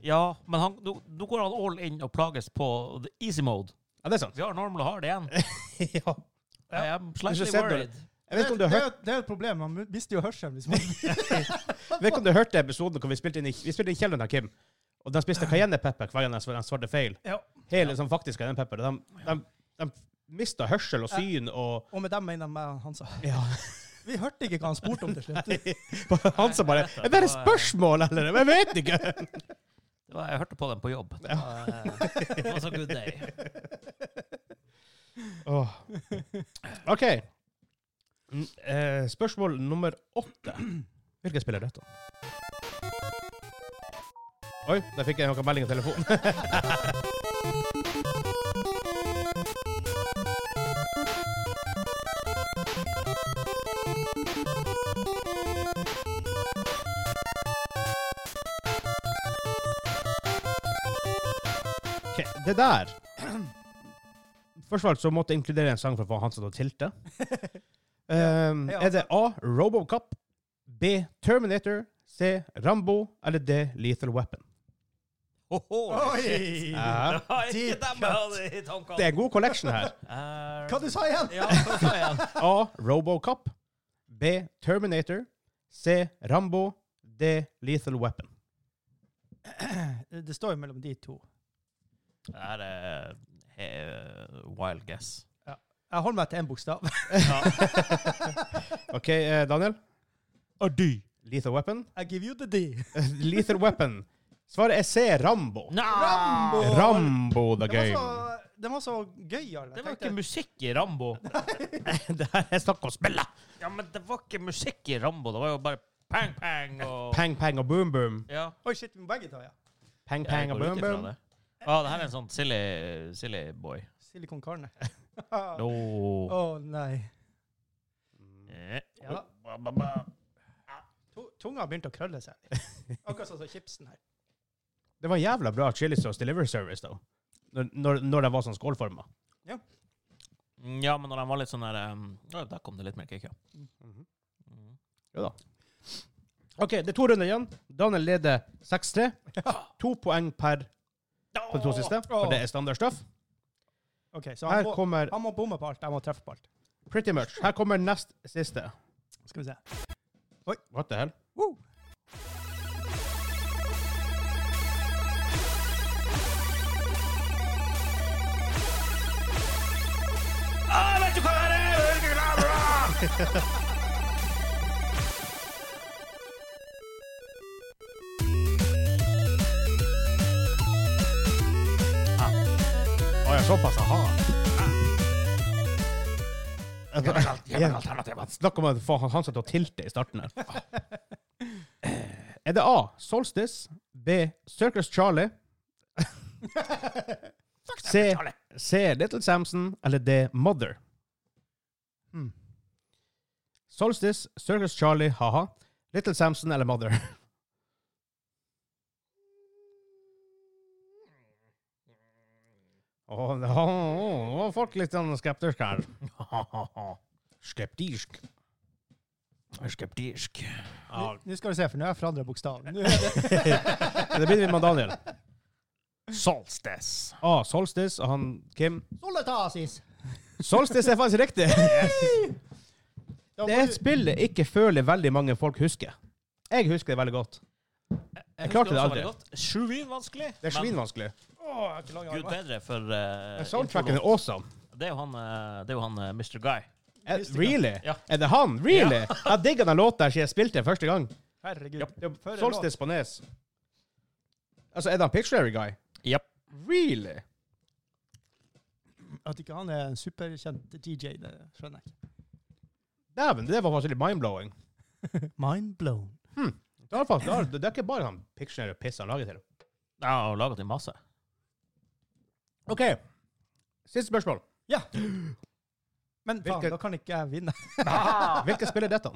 [SPEAKER 2] Ja, men han, nå, nå går han all in og plages på the easy mode.
[SPEAKER 1] Ja, det er sant.
[SPEAKER 2] Vi har normal hard igjen.
[SPEAKER 1] ja.
[SPEAKER 2] I am
[SPEAKER 1] Du
[SPEAKER 2] slightly
[SPEAKER 1] skal se på det.
[SPEAKER 2] worried.
[SPEAKER 1] Jeg vet ikke om du
[SPEAKER 3] det,
[SPEAKER 1] har
[SPEAKER 3] er
[SPEAKER 1] hørt
[SPEAKER 3] jo- det er jo et problem. Man mister jo hørselen hvis man
[SPEAKER 1] Jeg vet ikke om du hørte episoden hvor vi spilte inn i, vi spilte inn i kjelleren av Kim. Og de spiste cayennepepper hver gang de svar- de svarte feil.
[SPEAKER 3] ja.
[SPEAKER 1] Hele sånn faktisk cayennepepper. De, de, de mista hørsel og syn og
[SPEAKER 3] Og med dem mener jeg meg, han sa.
[SPEAKER 1] ja.
[SPEAKER 3] Vi hørte ikke hva han spurte om til slutt.
[SPEAKER 1] Han som bare Er det et spørsmål, eller? Jeg vet ikke!
[SPEAKER 2] Det var, jeg hørte på den på jobb. Det var, eh, det var så good day.
[SPEAKER 1] Åh. OK. Mm, eh, Spørsmål nummer åtte. Hvilken spiller er dette? Oi, der fikk jeg noen melding av telefonen. Ok, det der Først av alt så måtte jeg inkludere en sang for å få han til å tilte. Um,
[SPEAKER 3] Ja. altså.
[SPEAKER 1] er det A. Robocop, B. Terminator, C. Rambo eller D. Lethal Weapon?
[SPEAKER 3] Oi!
[SPEAKER 1] Ja.
[SPEAKER 2] Det var ikke
[SPEAKER 3] Deep
[SPEAKER 2] dem jeg hadde i
[SPEAKER 1] Det
[SPEAKER 2] tankene.
[SPEAKER 1] er en god collection her.
[SPEAKER 2] Eh,
[SPEAKER 3] Hva du sa igjen?
[SPEAKER 2] Ja, hva sa jeg?
[SPEAKER 1] A. Robocop, B. Terminator, C. Rambo, D. Lethal Weapon.
[SPEAKER 3] Det står jo mellom de to.
[SPEAKER 2] Det her er eh, wild guess.
[SPEAKER 3] Jeg holder meg til én bokstav.
[SPEAKER 1] OK, eh, Daniel? A. D. Lethal Weapon?
[SPEAKER 3] I give you the D.
[SPEAKER 1] Lethal Weapon. Svaret er C. Rambo.
[SPEAKER 3] Rambo!
[SPEAKER 1] Rambo the
[SPEAKER 3] Den var,
[SPEAKER 1] game.
[SPEAKER 3] så, den var så gøy, Jarle.
[SPEAKER 2] Det var
[SPEAKER 3] Jeg tenkte-
[SPEAKER 2] ikke musikk i Rambo.
[SPEAKER 1] det her er snakk om spille.
[SPEAKER 2] Ja, men det var ikke musikk i Rambo. Det var jo bare pang-pang og
[SPEAKER 1] Pang, pang og boom, boom.
[SPEAKER 2] Ja.
[SPEAKER 3] Oi, shit, vi må begge ta, ja.
[SPEAKER 1] Pang,
[SPEAKER 2] Jeg
[SPEAKER 1] pang og
[SPEAKER 2] går ut
[SPEAKER 1] boom,
[SPEAKER 2] ifra
[SPEAKER 1] boom.
[SPEAKER 2] det. Ja, det her er en sånn silly, silly boy.
[SPEAKER 3] Silicon Carne.
[SPEAKER 2] Nå.
[SPEAKER 3] Å nei.
[SPEAKER 2] Eh,
[SPEAKER 3] Ja.
[SPEAKER 2] ba, ba, ba.
[SPEAKER 3] To- Tunga har begynt å krølle seg. Akkurat sånn som chipsen her.
[SPEAKER 1] Det var jævla bra chilisauce delivery service, da. Når, når, når det var sånn skålforma.
[SPEAKER 2] Mm, Ja, men når de var litt sånn der um, ja, Der kom det litt mer kick, ja. Mm.
[SPEAKER 1] Jo da. OK, det er to runder igjen. Daniel leder 6-3. To poeng per på de to siste, for det er standard stuff.
[SPEAKER 3] OK, så han
[SPEAKER 1] Her
[SPEAKER 3] må,
[SPEAKER 1] kommer
[SPEAKER 3] han må bomme på alt. Jeg må treffe på alt.
[SPEAKER 1] pretty much. Her kommer nest siste.
[SPEAKER 3] Skal vi se.
[SPEAKER 1] What the hell?
[SPEAKER 3] Woo!
[SPEAKER 2] Ah, vet du hva det er? Jeg er ikke glad for det!
[SPEAKER 1] Å ja, såpass? Aha.
[SPEAKER 2] Gi meg alt, gi meg alternativet.
[SPEAKER 1] Snakk om å få han- han satt og tilte i starten her. Eh, Er det A. Solstice? B. Circus Charlie? C.
[SPEAKER 2] Charlie.
[SPEAKER 1] C. Little Samson? Eller D. Mother?
[SPEAKER 3] Hmm.
[SPEAKER 1] Solstice, Circus Charlie, haha. Little Samson eller Mother? Åh, nå var folk litt sånn skeptiske her. Skeptisk.
[SPEAKER 2] Skeptisk.
[SPEAKER 1] Ja,
[SPEAKER 3] Nå skal vi se, for nå har jeg forandra bokstaven. Nå er det-
[SPEAKER 1] det begynner vi med Daniel.
[SPEAKER 2] Solstice.
[SPEAKER 1] A. Ah, Solstice og han Kim.
[SPEAKER 3] Soletasis!
[SPEAKER 1] Solstice er faktisk riktig!
[SPEAKER 3] Da må
[SPEAKER 1] Det er et
[SPEAKER 3] du-
[SPEAKER 1] spill jeg ikke føler veldig mange folk husker. Jeg husker det veldig godt. Jeg klarte det aldri.
[SPEAKER 2] Sjuvin vanskelig.
[SPEAKER 1] Det er svinvanskelig.
[SPEAKER 3] Åh, jeg har ikke lang
[SPEAKER 2] Gud
[SPEAKER 3] arm.
[SPEAKER 2] bedre for eh,
[SPEAKER 1] Men Soundtracken er
[SPEAKER 2] introlåt.
[SPEAKER 1] awesome.
[SPEAKER 2] Det er jo han, eh, det er jo han eh, Mr. Guy.
[SPEAKER 1] Eh, Really?
[SPEAKER 2] Ja.
[SPEAKER 1] Er det han? Really? Jeg digga den låta siden jeg spilte den første gang.
[SPEAKER 3] Herregud.
[SPEAKER 2] Japp.
[SPEAKER 1] Det
[SPEAKER 3] Før
[SPEAKER 1] var
[SPEAKER 3] en
[SPEAKER 1] Solstice på Nes. Altså, er det han Pictionary Guy?
[SPEAKER 2] Japp.
[SPEAKER 1] Really?
[SPEAKER 3] At ikke han er en superkjent DJ, det skjønner jeg ikke.
[SPEAKER 1] Dæven, det var faktisk litt mind-blowing.
[SPEAKER 3] Mind blown.
[SPEAKER 1] Det er, faktisk, det er, det er ikke bare han Pictionary og piss han lager til.
[SPEAKER 2] Jeg har laga til masse.
[SPEAKER 1] OK. Siste spørsmål.
[SPEAKER 3] Men faen,
[SPEAKER 1] Hvilket-
[SPEAKER 3] da kan ikke jeg vinne.
[SPEAKER 1] Hvilket spill er dette?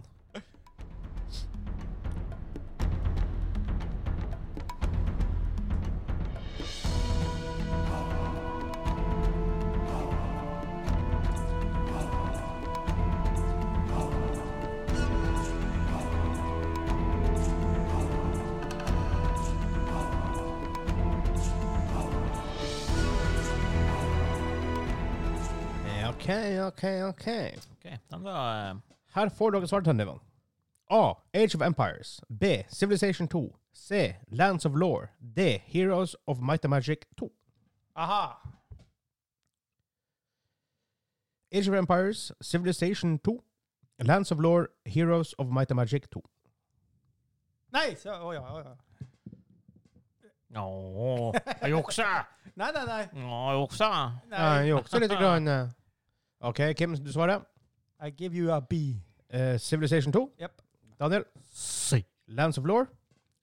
[SPEAKER 1] Eh, OK, OK, OK.
[SPEAKER 2] Ok, den var eh,
[SPEAKER 1] Her får dere svaralternativene. A. Age of Empires. B. Civilization 2. C. Lands of Law. D. Heroes of Might and Magic 2.
[SPEAKER 3] Aha!
[SPEAKER 1] Age of Empires, Civilization 2, Lands of Law, Heroes of Might and Magic 2.
[SPEAKER 3] Nei! Så, å ja, å ja.
[SPEAKER 2] Åh, jeg jukser!
[SPEAKER 3] Nei, nei, nei.
[SPEAKER 2] Åh, jeg jukser!
[SPEAKER 1] Eh, jo, så litt grann. eh. OK, Kim, du svarer.
[SPEAKER 3] I give you a B.
[SPEAKER 1] Eh, Civilization 2.
[SPEAKER 3] Yep.
[SPEAKER 1] Daniel? Lands of Law.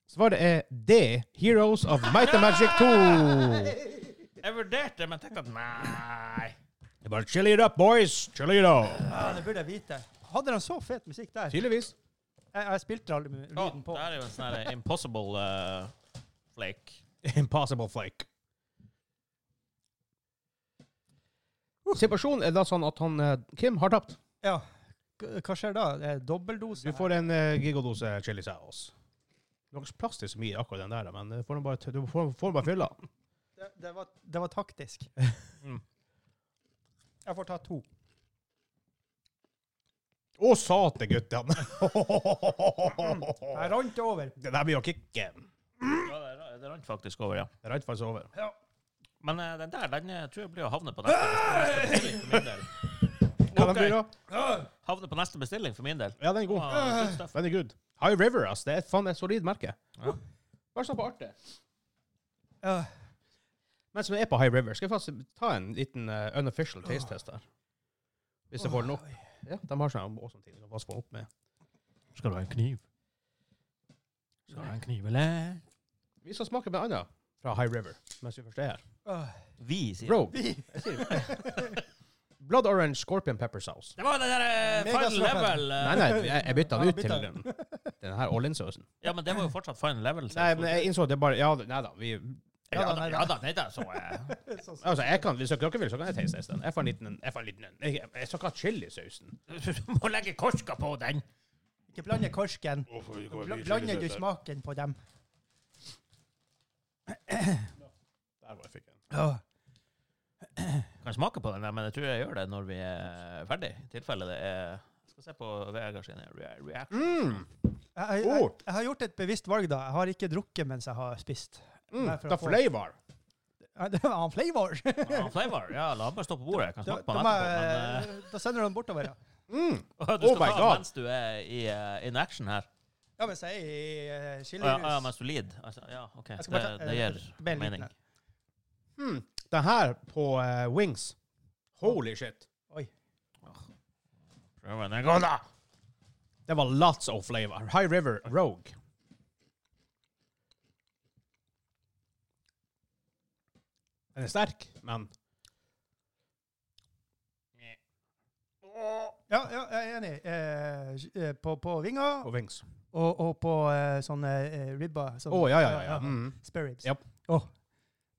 [SPEAKER 1] Svaret er D. Heroes of Might and Magic 2.
[SPEAKER 2] Jeg vurderte, men tenkte at nei.
[SPEAKER 1] Det er bare chill it up, boys. Chill it up.
[SPEAKER 3] Ja, Ah, det burde jeg vite. Hadde de så fet musikk der? Jeg,
[SPEAKER 1] Tydeligvis.
[SPEAKER 3] jeg spilte aldri med
[SPEAKER 2] Åh,
[SPEAKER 3] lyden på.
[SPEAKER 2] det her er jo en sånn her impossible eh, flake.
[SPEAKER 1] Impossible Flake. Situasjonen er da sånn at han, eh, Kim har tapt.
[SPEAKER 3] Ja. K- Hva skjer da? Det er Dobbeldose?
[SPEAKER 1] Du får en eh, gigadose chili sauce. Det er ikke plass til så mye i akkurat den der, men du får den bare, t- du får, får den bare fylla.
[SPEAKER 3] Det, det, var, det var taktisk.
[SPEAKER 1] Mm.
[SPEAKER 3] Jeg får ta to.
[SPEAKER 1] Å, sate, guttene! Mm.
[SPEAKER 3] Jeg rant over.
[SPEAKER 1] det der blir jo kicke.
[SPEAKER 2] Ja, det ra- det rant faktisk over, ja.
[SPEAKER 1] Det er rett faktisk over.
[SPEAKER 2] Men eh, den der den eh, tror jeg blir å havne på neste bestilling for min del.
[SPEAKER 1] Hva den
[SPEAKER 2] Ok.
[SPEAKER 1] blir da?
[SPEAKER 2] Havne på neste bestilling for min del.
[SPEAKER 1] Ja, den er god.
[SPEAKER 2] Ah, good stuff.
[SPEAKER 1] Den er good. High River, ass. Det er et faen et solid merke.
[SPEAKER 2] Ja.
[SPEAKER 1] Bare sånn på artet.
[SPEAKER 3] Ja.
[SPEAKER 1] Mens vi er på High River, skal jeg faktisk ta en liten eh, unofficial taste test der. Hvis jeg får den opp. Ja, de har sånn også ting du kan passe på opp med.
[SPEAKER 2] Skal du ha en kniv? Skal du ha en kniv, eller?
[SPEAKER 1] Vi skal smake med annet fra High River mens vi først er her.
[SPEAKER 3] Åh.
[SPEAKER 2] Vi, sier
[SPEAKER 1] Bro, jeg sier det. Blood Orange Scorpion Pepper Sauce.
[SPEAKER 2] Det var den der eh,
[SPEAKER 3] Mega
[SPEAKER 2] final
[SPEAKER 3] slapp
[SPEAKER 2] level. eh,
[SPEAKER 1] Nei, nei, jeg, jeg bytta den ut
[SPEAKER 3] Ja,
[SPEAKER 1] til
[SPEAKER 3] bytta
[SPEAKER 1] den, den her all-in-sausen.
[SPEAKER 2] Ja, men det var jo fortsatt final level.
[SPEAKER 1] Nei, men jeg innså at det bare Ja, nei da. Vi,
[SPEAKER 2] ja, da, ja da, nei da, så eh,
[SPEAKER 3] Sånn som-
[SPEAKER 1] altså, jeg kan, hvis dere vil, så kan jeg taste den. Jeg får en liten Jeg får en liten Jeg, jeg skal ikke ha chilisausen.
[SPEAKER 2] Du må legge korska på den.
[SPEAKER 3] Ikke blande korsken. Bla- Blander du smaken på dem?
[SPEAKER 1] Der var jeg fikk en.
[SPEAKER 3] Åh.
[SPEAKER 2] Kan smake på den, der, men jeg tror jeg gjør det når vi er ferdig. I tilfelle det er Jeg skal se på Vegard sin re- reaction.
[SPEAKER 1] Mm,
[SPEAKER 3] Jeg, jeg, jeg, jeg har gjort et bevisst valg, da. Jeg har ikke drukket mens jeg har spist.
[SPEAKER 1] mm,
[SPEAKER 3] Nei, for å
[SPEAKER 1] da
[SPEAKER 3] få-
[SPEAKER 1] flavor.
[SPEAKER 3] Ja, Det var en flavor!
[SPEAKER 2] Ja, flavor. Ja, la den bare stå på bordet. Jeg kan
[SPEAKER 3] Da,
[SPEAKER 2] smake på
[SPEAKER 3] da,
[SPEAKER 2] den
[SPEAKER 3] må
[SPEAKER 2] etterpå.
[SPEAKER 3] jeg-
[SPEAKER 2] Men,
[SPEAKER 1] eh,
[SPEAKER 3] da sender du den bortover, ja.
[SPEAKER 1] Mm.
[SPEAKER 2] eh, du
[SPEAKER 1] Oh
[SPEAKER 2] skal
[SPEAKER 1] my God.
[SPEAKER 2] ta den mens du er i eh, in action her.
[SPEAKER 3] Ja, men jeg er i uh,
[SPEAKER 2] Å,
[SPEAKER 3] chilirus.
[SPEAKER 2] Ja, å, ja, mens du lider. Altså, ja, OK.
[SPEAKER 3] Jeg skal
[SPEAKER 2] Det,
[SPEAKER 3] bare ta-
[SPEAKER 2] det gir
[SPEAKER 3] eh, bare en liten
[SPEAKER 2] mening.
[SPEAKER 3] her.
[SPEAKER 1] Mm. Den her på eh, wings Holy shit.
[SPEAKER 2] Prøv den en gang, da.
[SPEAKER 1] Det var lots of flavor. High River Rogue. Den er sterk, men
[SPEAKER 3] Ja, ja, jeg er enig. Eh, eh, på, på vinga
[SPEAKER 1] på wings.
[SPEAKER 3] og, og på eh, sånne eh, ribber.
[SPEAKER 1] Å,
[SPEAKER 3] Sånn,
[SPEAKER 1] ja, ja, ja. ja. Mm.
[SPEAKER 3] Spare ribs.
[SPEAKER 1] Japp.
[SPEAKER 3] Åh.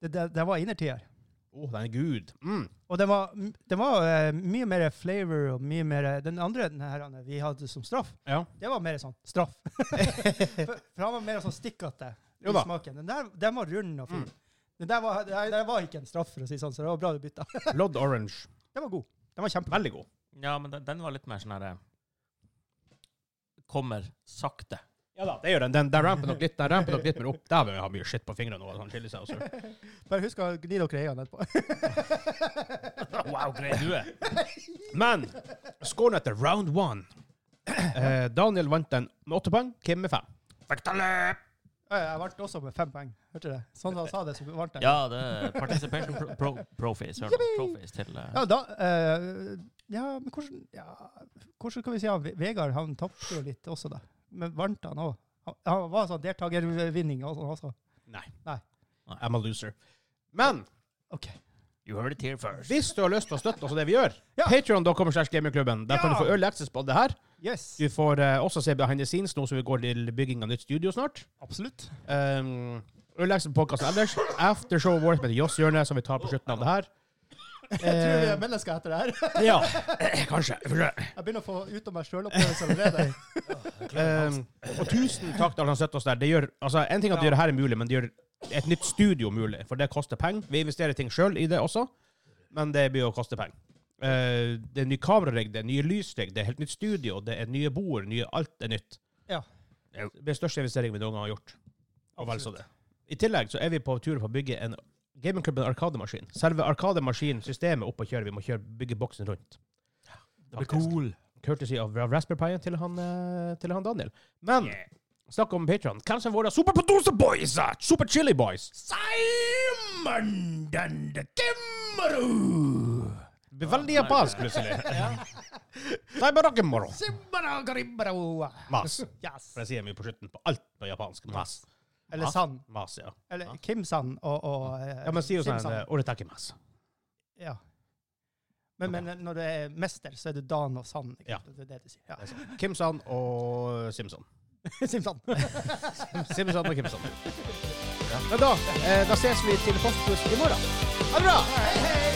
[SPEAKER 3] det, det, det var innertier.
[SPEAKER 1] Å, den er good. Mm.
[SPEAKER 3] Og den var, den var eh, mye mer flavor og mye mer Den andre den her, Anne, vi hadde som straff,
[SPEAKER 1] Ja.
[SPEAKER 3] det var mer sånn straff. for, for han var mer sånn stikkete i
[SPEAKER 1] Jo da. Mm.
[SPEAKER 3] smaken. Den der den var rund og fin. Den der var, det der var ikke en straff, for å si sånn, så det var bra du bytta.
[SPEAKER 1] Blood Orange.
[SPEAKER 3] Den var god. Den var kjempegod.
[SPEAKER 1] Veldig god.
[SPEAKER 2] Ja, men den, den var litt mer sånn her eh, Kommer sakte.
[SPEAKER 1] Ja da, det gjør den. Den der ramper nok litt, den ramper nok litt mer opp. Der vil jeg ha mye shit på fingrene nå. Sånn chilisauser.
[SPEAKER 3] Bare husk å gni dere i øynene etterpå.
[SPEAKER 2] Wow, grei du er.
[SPEAKER 1] Men scoren etter round one eh, Daniel vant den med åtte poeng, Kim med fem.
[SPEAKER 2] Vektale!
[SPEAKER 3] Ja, Jeg vant også med fem poeng. Hørte du det? Sånn han sa det, så vant jeg.
[SPEAKER 2] Ja, det er participation pro, pro, profis. Hør nå.
[SPEAKER 3] Yippee!
[SPEAKER 2] Profis til eh,
[SPEAKER 3] Ja, da, eh, ja, men hvordan, ja, hvordan kan vi si han? Ve- Vegard han tapte jo litt også, da. Men vant han òg? Han, han var sånn deltakervinning og sånn også.
[SPEAKER 1] Nei.
[SPEAKER 3] Nei.
[SPEAKER 1] I'm a loser. Men
[SPEAKER 3] OK.
[SPEAKER 2] You heard it here first.
[SPEAKER 1] hvis du har lyst til å støtte oss og det vi gjør,
[SPEAKER 3] Ja.
[SPEAKER 1] patreon.com slash gamingklubben. Der kan
[SPEAKER 3] Ja.
[SPEAKER 1] du få early access på det her.
[SPEAKER 3] Yes.
[SPEAKER 1] Du får eh, også se behind the scenes nå som vi går til bygging av nytt studio snart.
[SPEAKER 3] Absolutt.
[SPEAKER 1] Um, early access på podkasten ellers. Aftershowet vårt med Joss Hjørne, som vi tar på slutten av det her.
[SPEAKER 3] Jeg tror vi er mennesker etter det her.
[SPEAKER 1] Ja, kanskje.
[SPEAKER 3] Jeg begynner å få ut av meg sjølopplevelser allerede.
[SPEAKER 1] Um, og tusen takk til alle som støtter oss der. Det gjør, altså, en ting er at det gjør det her mulig, men det gjør et nytt studio mulig, for det koster penger. Vi investerer ting sjøl i det også, men det blir å koste penger. Eh, det er ny kamerarigg, det er nye lysrigg, det er helt nytt studio, det er nye bord, nye, alt er nytt.
[SPEAKER 3] Ja.
[SPEAKER 1] Det er den største investeringen vi noen gang har gjort. Og vel så det. I tillegg så er vi på tur på å bygge en gamingklubben Arkademaskin. Selve Arkademaskin-systemet opp og kjøre. Vi må kjøre, bygge boksen rundt.
[SPEAKER 2] Det blir cool.
[SPEAKER 1] Courtesy av Raspberry Pi til han, eh, til han Daniel. Men Snakk om Patreon. Hvem som er våre superproducer boys? eh? Super chili boys.
[SPEAKER 2] Simon den the Kimmeru!
[SPEAKER 1] Det blir veldig japansk plutselig. Nei, bare dere moro.
[SPEAKER 3] Simbara garimbara.
[SPEAKER 1] Mas.
[SPEAKER 3] Yes.
[SPEAKER 1] For jeg sier mye på slutten på alt på japansk. Mas.
[SPEAKER 3] Eller San.
[SPEAKER 1] Mas, ja.
[SPEAKER 3] Eller Kim San og, og eh,
[SPEAKER 1] Ja, men sier jo
[SPEAKER 3] Sim
[SPEAKER 1] sånn
[SPEAKER 3] San.
[SPEAKER 1] eh, Oretaki mas.
[SPEAKER 3] Ja. Men, men når du er mester, så er du Dan og San. Ikke?
[SPEAKER 1] Ja.
[SPEAKER 3] sant? Det er det du sier. Ja.
[SPEAKER 1] Kimson og Simpson.
[SPEAKER 3] Simsan.
[SPEAKER 1] Simpson og Kimson. Men da, eh, da ses vi til Postbuss i morgen. Ha det bra!
[SPEAKER 3] Hei, hei!